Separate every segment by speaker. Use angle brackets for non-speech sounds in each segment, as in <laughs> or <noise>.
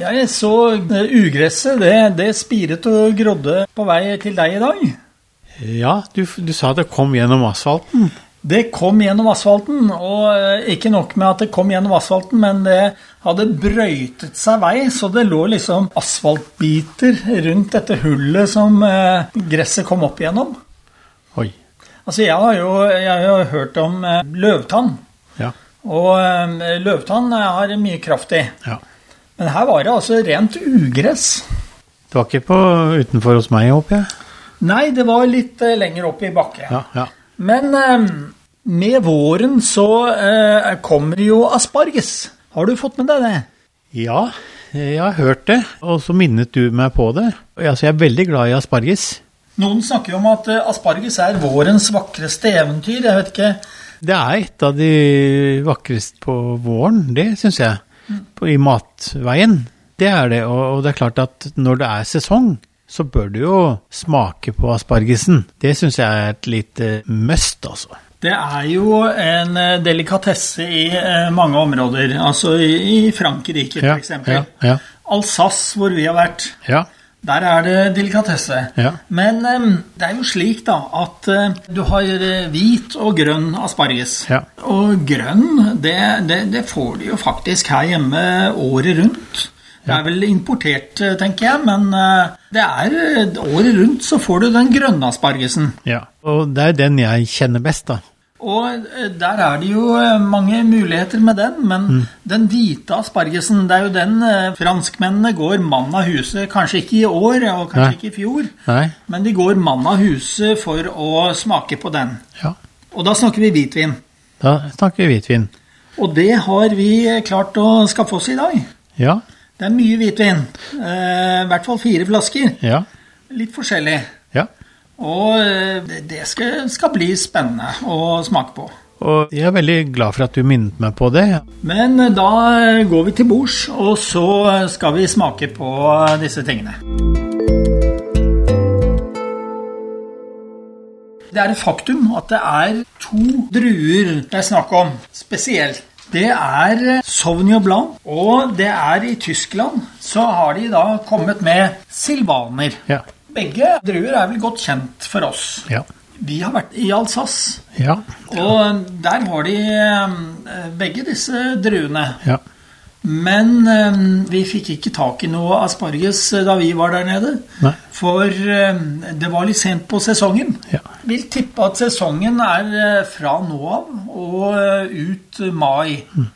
Speaker 1: Jeg så eh, ugresset, det, det spiret og grådde på vei til deg i dag.
Speaker 2: Ja, du, du sa det kom gjennom asfalten.
Speaker 1: Det kom gjennom asfalten, og eh, ikke nok med at det kom gjennom asfalten, men det hadde brøytet seg vei, så det lå liksom asfaltbiter rundt dette hullet som eh, gresset kom opp gjennom.
Speaker 2: Oi.
Speaker 1: Altså, jeg har jo, jeg har jo hørt om eh, løvtann,
Speaker 2: Ja.
Speaker 1: og eh, løvtann eh, har mye kraft i.
Speaker 2: ja.
Speaker 1: Men her var det altså rent ugress.
Speaker 2: Det var ikke på utenfor hos meg, håper jeg?
Speaker 1: Nei, det var litt eh, lenger opp i bakke.
Speaker 2: Ja. ja.
Speaker 1: Men eh, med våren så eh, kommer jo asparges. Har du fått med deg det?
Speaker 2: Ja, jeg har hørt det, og så minnet du meg på det. Og Altså, jeg er veldig glad i asparges.
Speaker 1: Noen snakker jo om at eh, asparges er vårens vakreste eventyr. Jeg vet ikke
Speaker 2: Det er et av de vakreste på våren, det syns jeg. På, I matveien. Det er det, og, og det er klart at når det er sesong, så bør du jo smake på aspargesen. Det syns jeg er et lite must, altså.
Speaker 1: Det er jo en eh, delikatesse i eh, mange områder. Altså i, i Frankrike,
Speaker 2: Ja,
Speaker 1: f.eks.
Speaker 2: ja, ja.
Speaker 1: Alsace, hvor vi har vært.
Speaker 2: Ja.
Speaker 1: Der er det delikatesse.
Speaker 2: Ja.
Speaker 1: Men em, det er jo slik da at eh, du har eh, hvit og grønn asparges.
Speaker 2: Ja.
Speaker 1: Og grønn, det, det, det får du jo faktisk her hjemme året rundt. Det er vel importert, eh, tenker jeg, men eh, det er eh, året rundt så får du den grønne aspargesen.
Speaker 2: ja. Og det er den jeg kjenner best, da.
Speaker 1: Og eh, der er det jo eh, mange muligheter med den, men
Speaker 2: Mm.
Speaker 1: den hvite aspargesen, det er jo den eh, franskmennene går mann av huset, kanskje ikke i år og kanskje
Speaker 2: Nei.
Speaker 1: ikke i fjor.
Speaker 2: Nei.
Speaker 1: Men de går mann av huset for å smake på den.
Speaker 2: Ja.
Speaker 1: Og da snakker vi hvitvin.
Speaker 2: Da snakker vi hvitvin.
Speaker 1: Og det har vi klart å skaffe oss i dag.
Speaker 2: Ja.
Speaker 1: Det er mye hvitvin. Eh, I hvert fall fire flasker.
Speaker 2: Ja.
Speaker 1: Litt forskjellig.
Speaker 2: Ja.
Speaker 1: Og eh, det- det skal, skal bli spennende å smake på.
Speaker 2: Og jeg er veldig glad for at du minnet meg på det.
Speaker 1: Men eh, da eh, går vi til bords, og så eh, skal vi smake på eh, disse tingene. Det er et faktum at det er to druer det er snakk om spesielt. Det er eh, Sauvignon Blanc, og det er i Tyskland så har de da kommet med silvaner.
Speaker 2: Ja.
Speaker 1: Begge druer er vel godt kjent for oss.
Speaker 2: Ja.
Speaker 1: Vi har vært i Alsace.
Speaker 2: Ja.
Speaker 1: Og der har de eh, begge disse druene.
Speaker 2: Ja.
Speaker 1: Men eh, vi fikk ikke tak i noe asparges eh, da vi var der nede.
Speaker 2: Nei.
Speaker 1: For eh, det var litt sent på sesongen.
Speaker 2: Ja.
Speaker 1: Vil tippe at sesongen er eh, fra nå av og eh, ut mai.
Speaker 2: Mm.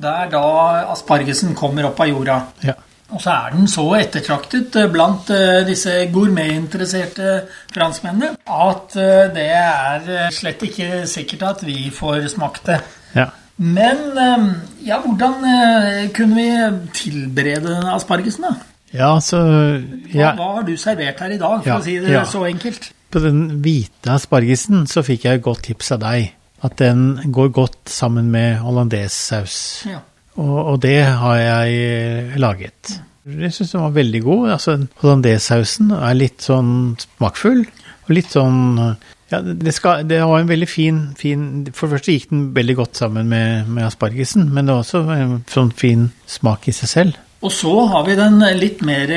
Speaker 1: Det er da aspargesen kommer opp av jorda.
Speaker 2: Ja.
Speaker 1: Og så er den så ettertraktet eh, blant eh, disse gourmetinteresserte franskmennene at eh, det er eh, slett ikke sikkert at vi får smakt det.
Speaker 2: Ja.
Speaker 1: Men eh, ja, hvordan eh, kunne vi tilberede denne aspargesen, da?
Speaker 2: ja så
Speaker 1: Hva,
Speaker 2: ja.
Speaker 1: hva har du servert her i dag, for
Speaker 2: Ja,
Speaker 1: å si det
Speaker 2: ja.
Speaker 1: så enkelt?
Speaker 2: På den hvite aspargesen så fikk jeg et godt tips av deg. At den går godt sammen med hollandesesaus.
Speaker 1: Ja.
Speaker 2: Og, og det har jeg eh, laget. Jeg syns den var veldig god. altså Hollandaisesausen er litt sånn smakfull. Og litt sånn ja, det, skal, det var en veldig fin, fin For det første gikk den veldig godt sammen med, med aspargesen, men det var også en sånn fin smak i seg selv.
Speaker 1: Og så har vi den litt mer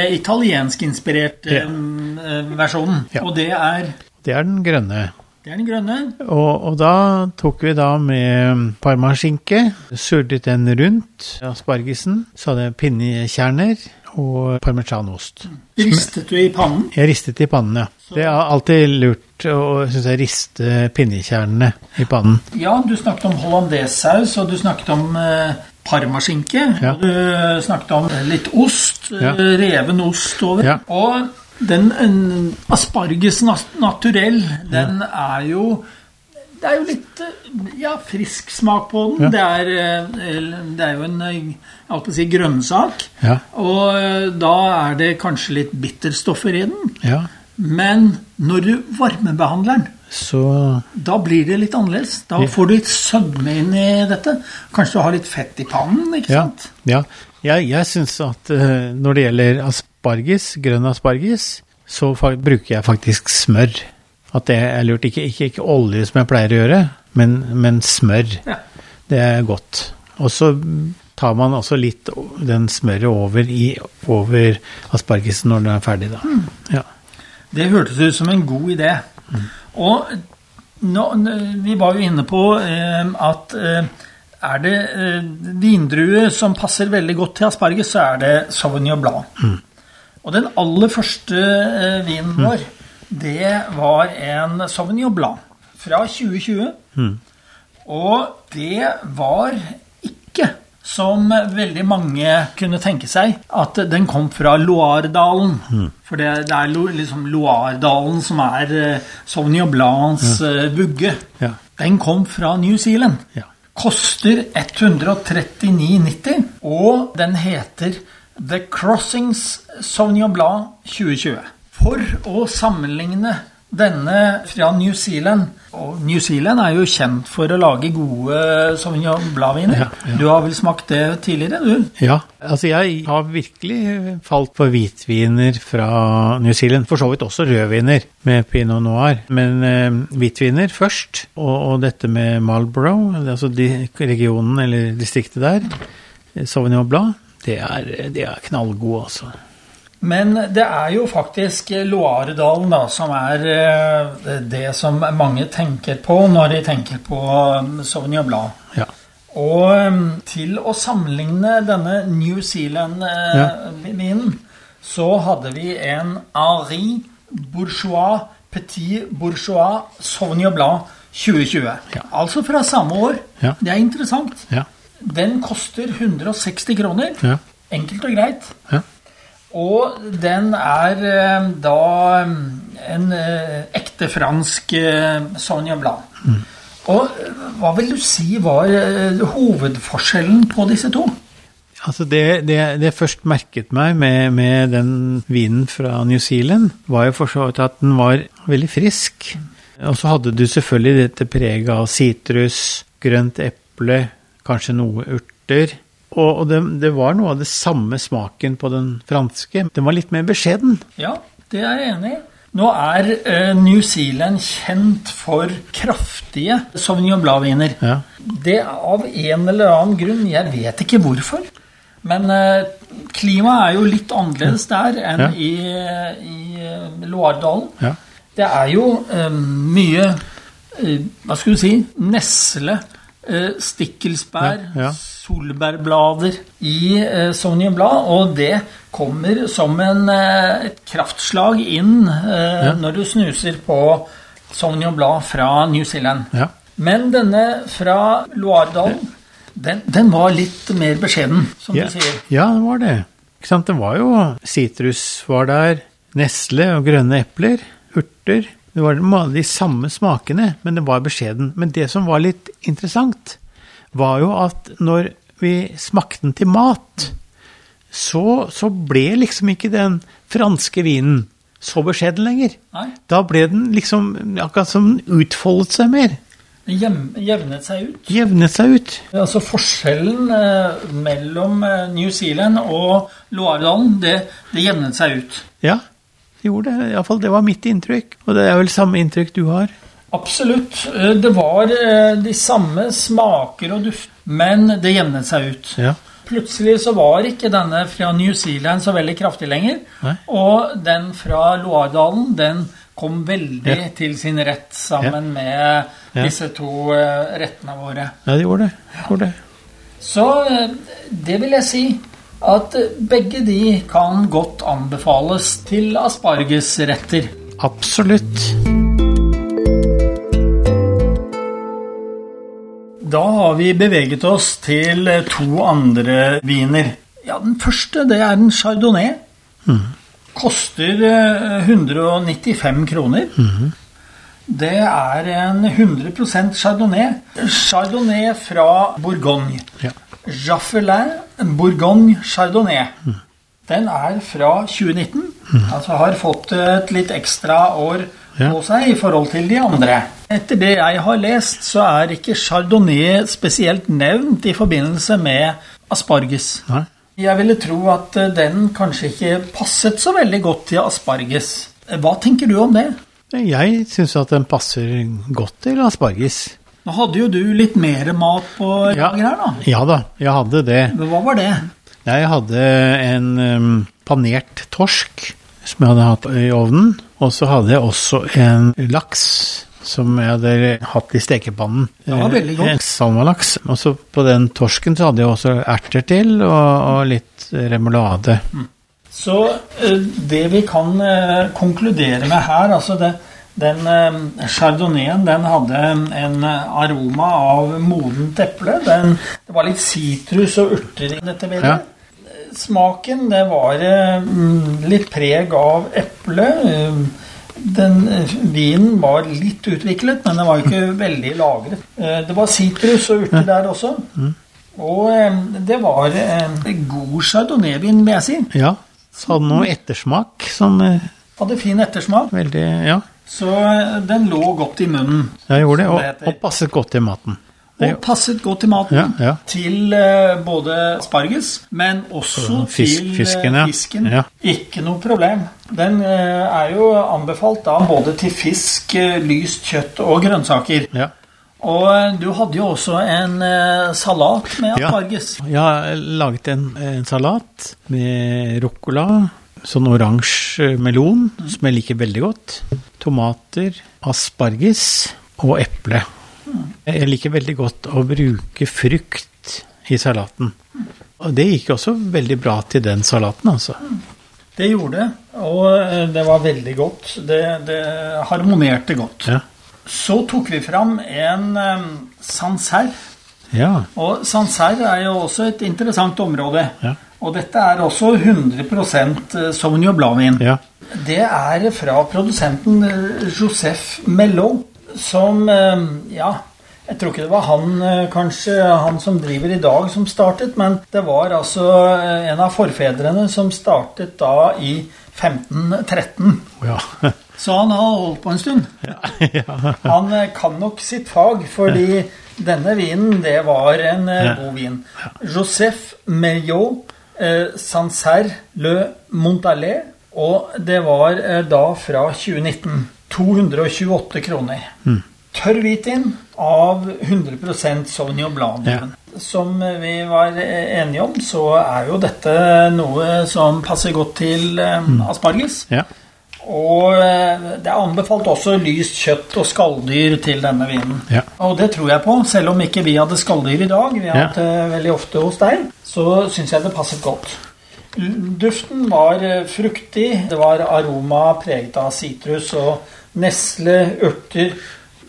Speaker 1: italienskinspirerte
Speaker 2: Ja.
Speaker 1: eh, versjonen.
Speaker 2: Ja.
Speaker 1: Og det er,
Speaker 2: Det er den grønne.
Speaker 1: det er den grønne.
Speaker 2: Og, og da tok vi da med parmaskinke, surdet den rundt aspargesen, så hadde jeg pinnekjerner og parmesanost.
Speaker 1: Ristet du i pannen?
Speaker 2: Jeg ristet i pannen, ja. Det er alltid lurt å synes jeg, riste pinnekjernene i pannen.
Speaker 1: Ja, du snakket om hollandesaus, og du snakket om eh, parmaskinke.
Speaker 2: Ja.
Speaker 1: Og du eh, snakket om litt ost, eh,
Speaker 2: Ja.
Speaker 1: reven ost over.
Speaker 2: Ja.
Speaker 1: Og den en, asparges nat naturell, den er jo Det er jo litt eh, ja, frisk smak på den.
Speaker 2: Ja.
Speaker 1: Det, er, eh, el- det er jo en eh, jeg holdt på å si, grønnsak.
Speaker 2: Ja.
Speaker 1: Og eh, da er det kanskje litt bitterstoffer i den.
Speaker 2: Ja,
Speaker 1: Men når du varmebehandler den,
Speaker 2: så
Speaker 1: da blir det litt annerledes. Da
Speaker 2: Ja.
Speaker 1: får du litt sødme inn i dette. Kanskje du har litt fett i pannen, ikke
Speaker 2: Ja.
Speaker 1: sant?
Speaker 2: ja. Jeg, jeg syns at eh, når det gjelder asparges, grønn asparges, så fa bruker jeg faktisk smør. At det er lurt. Ikke, ikke, ikke olje, som jeg pleier å gjøre, men, men smør.
Speaker 1: Ja.
Speaker 2: Det er godt. Og så tar man også litt o- den smøret over, i, over aspargesen når den er ferdig, da.
Speaker 1: Hmm.
Speaker 2: Ja.
Speaker 1: Det hørtes ut som en god idé.
Speaker 2: Mm.
Speaker 1: Og nå, n- vi var jo inne på eh, at eh, er det eh, vindrue som passer veldig godt til asparges, så er det Sauvignon Blanc. Og den aller første eh, vinen vår, det var en Sauvignon Blanc fra 2020. Og det var ikke som veldig mange kunne tenke seg, at den kom fra Loardalen. For det, det er lo, liksom Loardalen som er eh, Sauvignon Blancs eh, vugge.
Speaker 2: Ja.
Speaker 1: Den kom fra New Zealand.
Speaker 2: Ja.
Speaker 1: Koster 139,90, og den heter The Crossings Sauvignon Blanc 2020. For å sammenligne denne fra New Zealand Og New Zealand er jo kjent for å lage gode Sauvignon Blanc-viner.
Speaker 2: Ja, ja.
Speaker 1: Du har vel smakt det tidligere, du?
Speaker 2: Ja, altså jeg har virkelig falt for hvitviner fra New Zealand. For så vidt også rødviner med pinot noir. Men eh, hvitviner først, og, og dette med Marlborough, altså de, regionen eller distriktet der, eh, Sauvignon Blanc, det er, det er knallgod, altså.
Speaker 1: Men det er jo faktisk Loaredalen da, som er eh, det som mange tenker på når de tenker på eh, Sauvignon Blanc.
Speaker 2: Ja.
Speaker 1: Og ehm, til å sammenligne denne New Zealand-vinen, eh, så hadde vi en Henri Bourgeois Petit Bourgeois Sauvignon Blanc 2020.
Speaker 2: Ja.
Speaker 1: Altså fra samme år.
Speaker 2: Ja.
Speaker 1: Det er interessant.
Speaker 2: Ja.
Speaker 1: Den koster 160 kroner.
Speaker 2: Ja.
Speaker 1: Enkelt og greit.
Speaker 2: Ja.
Speaker 1: Og den er eh, da eh, en eh, ekte fransk eh, Sauvignon Blanc. Og eh, hva vil du si var eh, hovedforskjellen på disse to?
Speaker 2: Altså det, det, det først merket meg med, med den vinen fra New Zealand, var jo for så vidt at den var veldig frisk. Og så hadde du selvfølgelig dette preget av sitrus, grønt eple, kanskje noe urter. Og, og det, det var noe av det samme smaken på den franske. Den var litt mer beskjeden.
Speaker 1: Ja, det er jeg enig i. Nå er eh, New Zealand kjent for kraftige Sauvignon Blanc-viner.
Speaker 2: Ja.
Speaker 1: Det er av en eller annen grunn, jeg vet ikke hvorfor. Men eh, klimaet er jo litt annerledes der enn
Speaker 2: Ja.
Speaker 1: i, eh, i eh, Loardalen.
Speaker 2: Ja.
Speaker 1: Det er jo eh, mye eh, Hva skal du si? Nesle, eh, stikkelsbær,
Speaker 2: Ja, ja.
Speaker 1: solbærblader i eh, Sauvignon Blad, og det kommer som en, eh, et kraftslag inn eh,
Speaker 2: Ja.
Speaker 1: når du snuser på Sauvignon Blad fra New Zealand.
Speaker 2: Ja.
Speaker 1: Men denne fra Loardalen, den, den var litt mer beskjeden, som
Speaker 2: Ja,
Speaker 1: du sier.
Speaker 2: ja, det var det. Ikke sant? Det var jo sitrus var der, nesle og grønne epler, urter. Det var ma- de samme smakene, men det var beskjeden. Men det som var litt interessant, var jo at når vi smakte den til mat, så, så ble liksom ikke den franske vinen så beskjeden lenger.
Speaker 1: Nei,
Speaker 2: Da ble den liksom akkurat som den utfoldet seg mer.
Speaker 1: den jem- jevnet seg ut.
Speaker 2: Jevnet seg ut.
Speaker 1: Altså Forskjellen eh, mellom eh, New Zealand og Loardalen, det, det jevnet seg ut.
Speaker 2: Ja, det gjorde det. Iallfall det var mitt inntrykk. Og det er vel samme inntrykk du har.
Speaker 1: Absolutt. eh, Det var eh, de samme smaker og duft, men det jevnet seg ut.
Speaker 2: Ja.
Speaker 1: Plutselig så var ikke denne fra New Zealand så veldig kraftig lenger.
Speaker 2: Nei.
Speaker 1: Og den fra Loardalen, den kom veldig til sin rett sammen med
Speaker 2: Ja.
Speaker 1: disse to eh, rettene våre.
Speaker 2: Ja, det gjorde det. det, gjorde det.
Speaker 1: Så eh, det vil jeg si at eh, begge de kan godt anbefales til aspargesretter.
Speaker 2: Absolutt.
Speaker 1: Da har vi beveget oss til eh, to andre viner. Ja, Den første det er en chardonnay. Koster eh, 195 kroner. Det er en 100 chardonnay. Chardonnay fra Bourgogne.
Speaker 2: Ja.
Speaker 1: Jaffelin Bourgogne Chardonnay. Den er fra 2019. Altså har fått et litt ekstra år
Speaker 2: Mm. Ja.
Speaker 1: på seg i forhold til de andre. Etter det jeg har lest, så er ikke chardonnay spesielt nevnt i forbindelse med asparges.
Speaker 2: Nei.
Speaker 1: Jeg ville tro at eh, den kanskje ikke passet så veldig godt til asparges. Hva tenker du om det?
Speaker 2: Jeg syns at den passer godt til asparges.
Speaker 1: Nå hadde jo du litt mer mat på
Speaker 2: Ja.
Speaker 1: lager her, da.
Speaker 2: Ja da, jeg hadde det.
Speaker 1: Men Hva var det?
Speaker 2: Jeg hadde en em, panert torsk som jeg hadde hatt i ovnen. Og så hadde jeg også en laks som jeg hadde hatt i stekepannen.
Speaker 1: Det var veldig godt.
Speaker 2: En Salmalaks. Og så på den torsken så hadde jeg også erter til, og, og litt remulade.
Speaker 1: Så eh, det vi kan eh, konkludere med her, altså det, den eh, chardonnayen den hadde en eh, aroma av modent eple. Den, det var litt sitrus og urter i dette bildet.
Speaker 2: Ja.
Speaker 1: Eh, Smaken det var eh, mm, litt preg av eple. eh, Den eh, vinen var litt utviklet, men den var ikke veldig lagret. Eh, Det var sitrus og urter der også. Og eh, det var en god chardonnay-vin, vil jeg si.
Speaker 2: Ja. Så hadde den noe ettersmak som eh,
Speaker 1: Hadde fin ettersmak,
Speaker 2: veldig Ja,
Speaker 1: så eh, den lå godt i munnen.
Speaker 2: jeg gjorde det. Og,
Speaker 1: heter.
Speaker 2: og passet godt til maten.
Speaker 1: Og
Speaker 2: Det,
Speaker 1: passet godt til maten.
Speaker 2: Ja, ja.
Speaker 1: Til eh, både asparges, men også
Speaker 2: Og fisk-
Speaker 1: til eh,
Speaker 2: fisken, ja.
Speaker 1: fisken.
Speaker 2: Ja.
Speaker 1: Ikke noe problem. Den eh, er jo anbefalt da både til fisk, eh, lyst kjøtt og grønnsaker.
Speaker 2: ja.
Speaker 1: Og eh, du hadde jo også en eh, salat med
Speaker 2: Ja.
Speaker 1: asparges.
Speaker 2: Jeg har laget en, en salat med ruccola, sånn oransje melon, som jeg liker veldig godt. Tomater, asparges og eple. Jeg liker veldig godt å bruke frukt i salaten. Og det gikk også veldig bra til den salaten, altså.
Speaker 1: Det gjorde det, og eh, det var veldig godt. Det, det harmonerte godt.
Speaker 2: Ja.
Speaker 1: Så tok vi fram en eh, Sancerre.
Speaker 2: Ja.
Speaker 1: Og Sancerre er jo også et interessant område.
Speaker 2: Ja.
Speaker 1: Og dette er også 100 Sauvignon Blanc-vin.
Speaker 2: ja.
Speaker 1: Det er fra produsenten eh, Joseph Mello, som eh, Ja, jeg tror ikke det var han eh, kanskje, han som driver i dag, som startet, men det var altså eh, en av forfedrene som startet da i 1513.
Speaker 2: ja.
Speaker 1: Så han har holdt på en stund.
Speaker 2: <laughs>
Speaker 1: Han eh, kan nok sitt fag, fordi denne vinen, det var en eh,
Speaker 2: Ja.
Speaker 1: god vin. Joseph Maillot, eh, Sancerre Le Montalais, og det var eh, da fra 2019. 228 kroner.
Speaker 2: Mm.
Speaker 1: Tørr hvitvin av 100 Sauvignon Blanc.
Speaker 2: Ja.
Speaker 1: Som vi var eh, enige om, så er jo dette noe som passer godt til eh,
Speaker 2: Mm.
Speaker 1: asparges.
Speaker 2: ja.
Speaker 1: Og eh, det er anbefalt også lyst kjøtt og skalldyr til denne vinen.
Speaker 2: Ja.
Speaker 1: Og det tror jeg på, selv om ikke vi hadde skalldyr i dag. Vi har
Speaker 2: Ja.
Speaker 1: hatt det veldig ofte hos deg. Så syns jeg det passet godt. L- Duften var eh, fruktig. Det var aroma preget av sitrus og nesle, urter.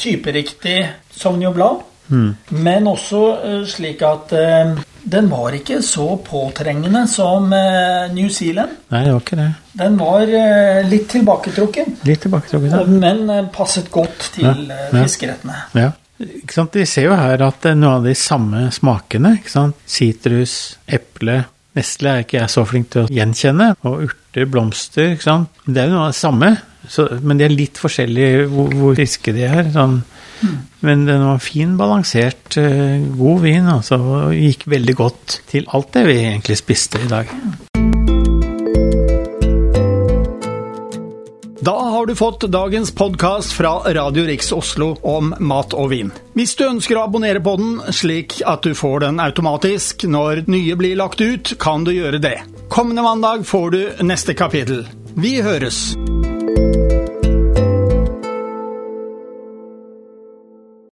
Speaker 1: Typeriktig Sauvignon Blanc.
Speaker 2: Hmm.
Speaker 1: Men også eh, slik at eh, den var ikke så påtrengende som eh, New Zealand.
Speaker 2: Nei, det var ikke det.
Speaker 1: Den var eh, litt tilbaketrukken,
Speaker 2: Litt tilbaketrukket. da.
Speaker 1: men eh, passet godt til eh,
Speaker 2: ja.
Speaker 1: fiskerettene.
Speaker 2: Ja. Ikke sant? Vi ser jo her at det er noen av de samme smakene. ikke sant? Sitrus, eple Nestle er ikke jeg så flink til å gjenkjenne. Og urter, blomster. ikke sant? Det er jo noe av det samme, så, men de er litt forskjellige hvor, hvor friske de er. sånn. Men den var fin, balansert, eh, god vin, altså. Og gikk veldig godt til alt det vi egentlig spiste i dag.
Speaker 1: Da har du fått dagens podkast fra Radio Riks Oslo om mat og vin. Hvis du ønsker å abonnere på den, slik at du får den automatisk når nye blir lagt ut, kan du gjøre det. Kommende mandag får du neste kapittel. Vi høres!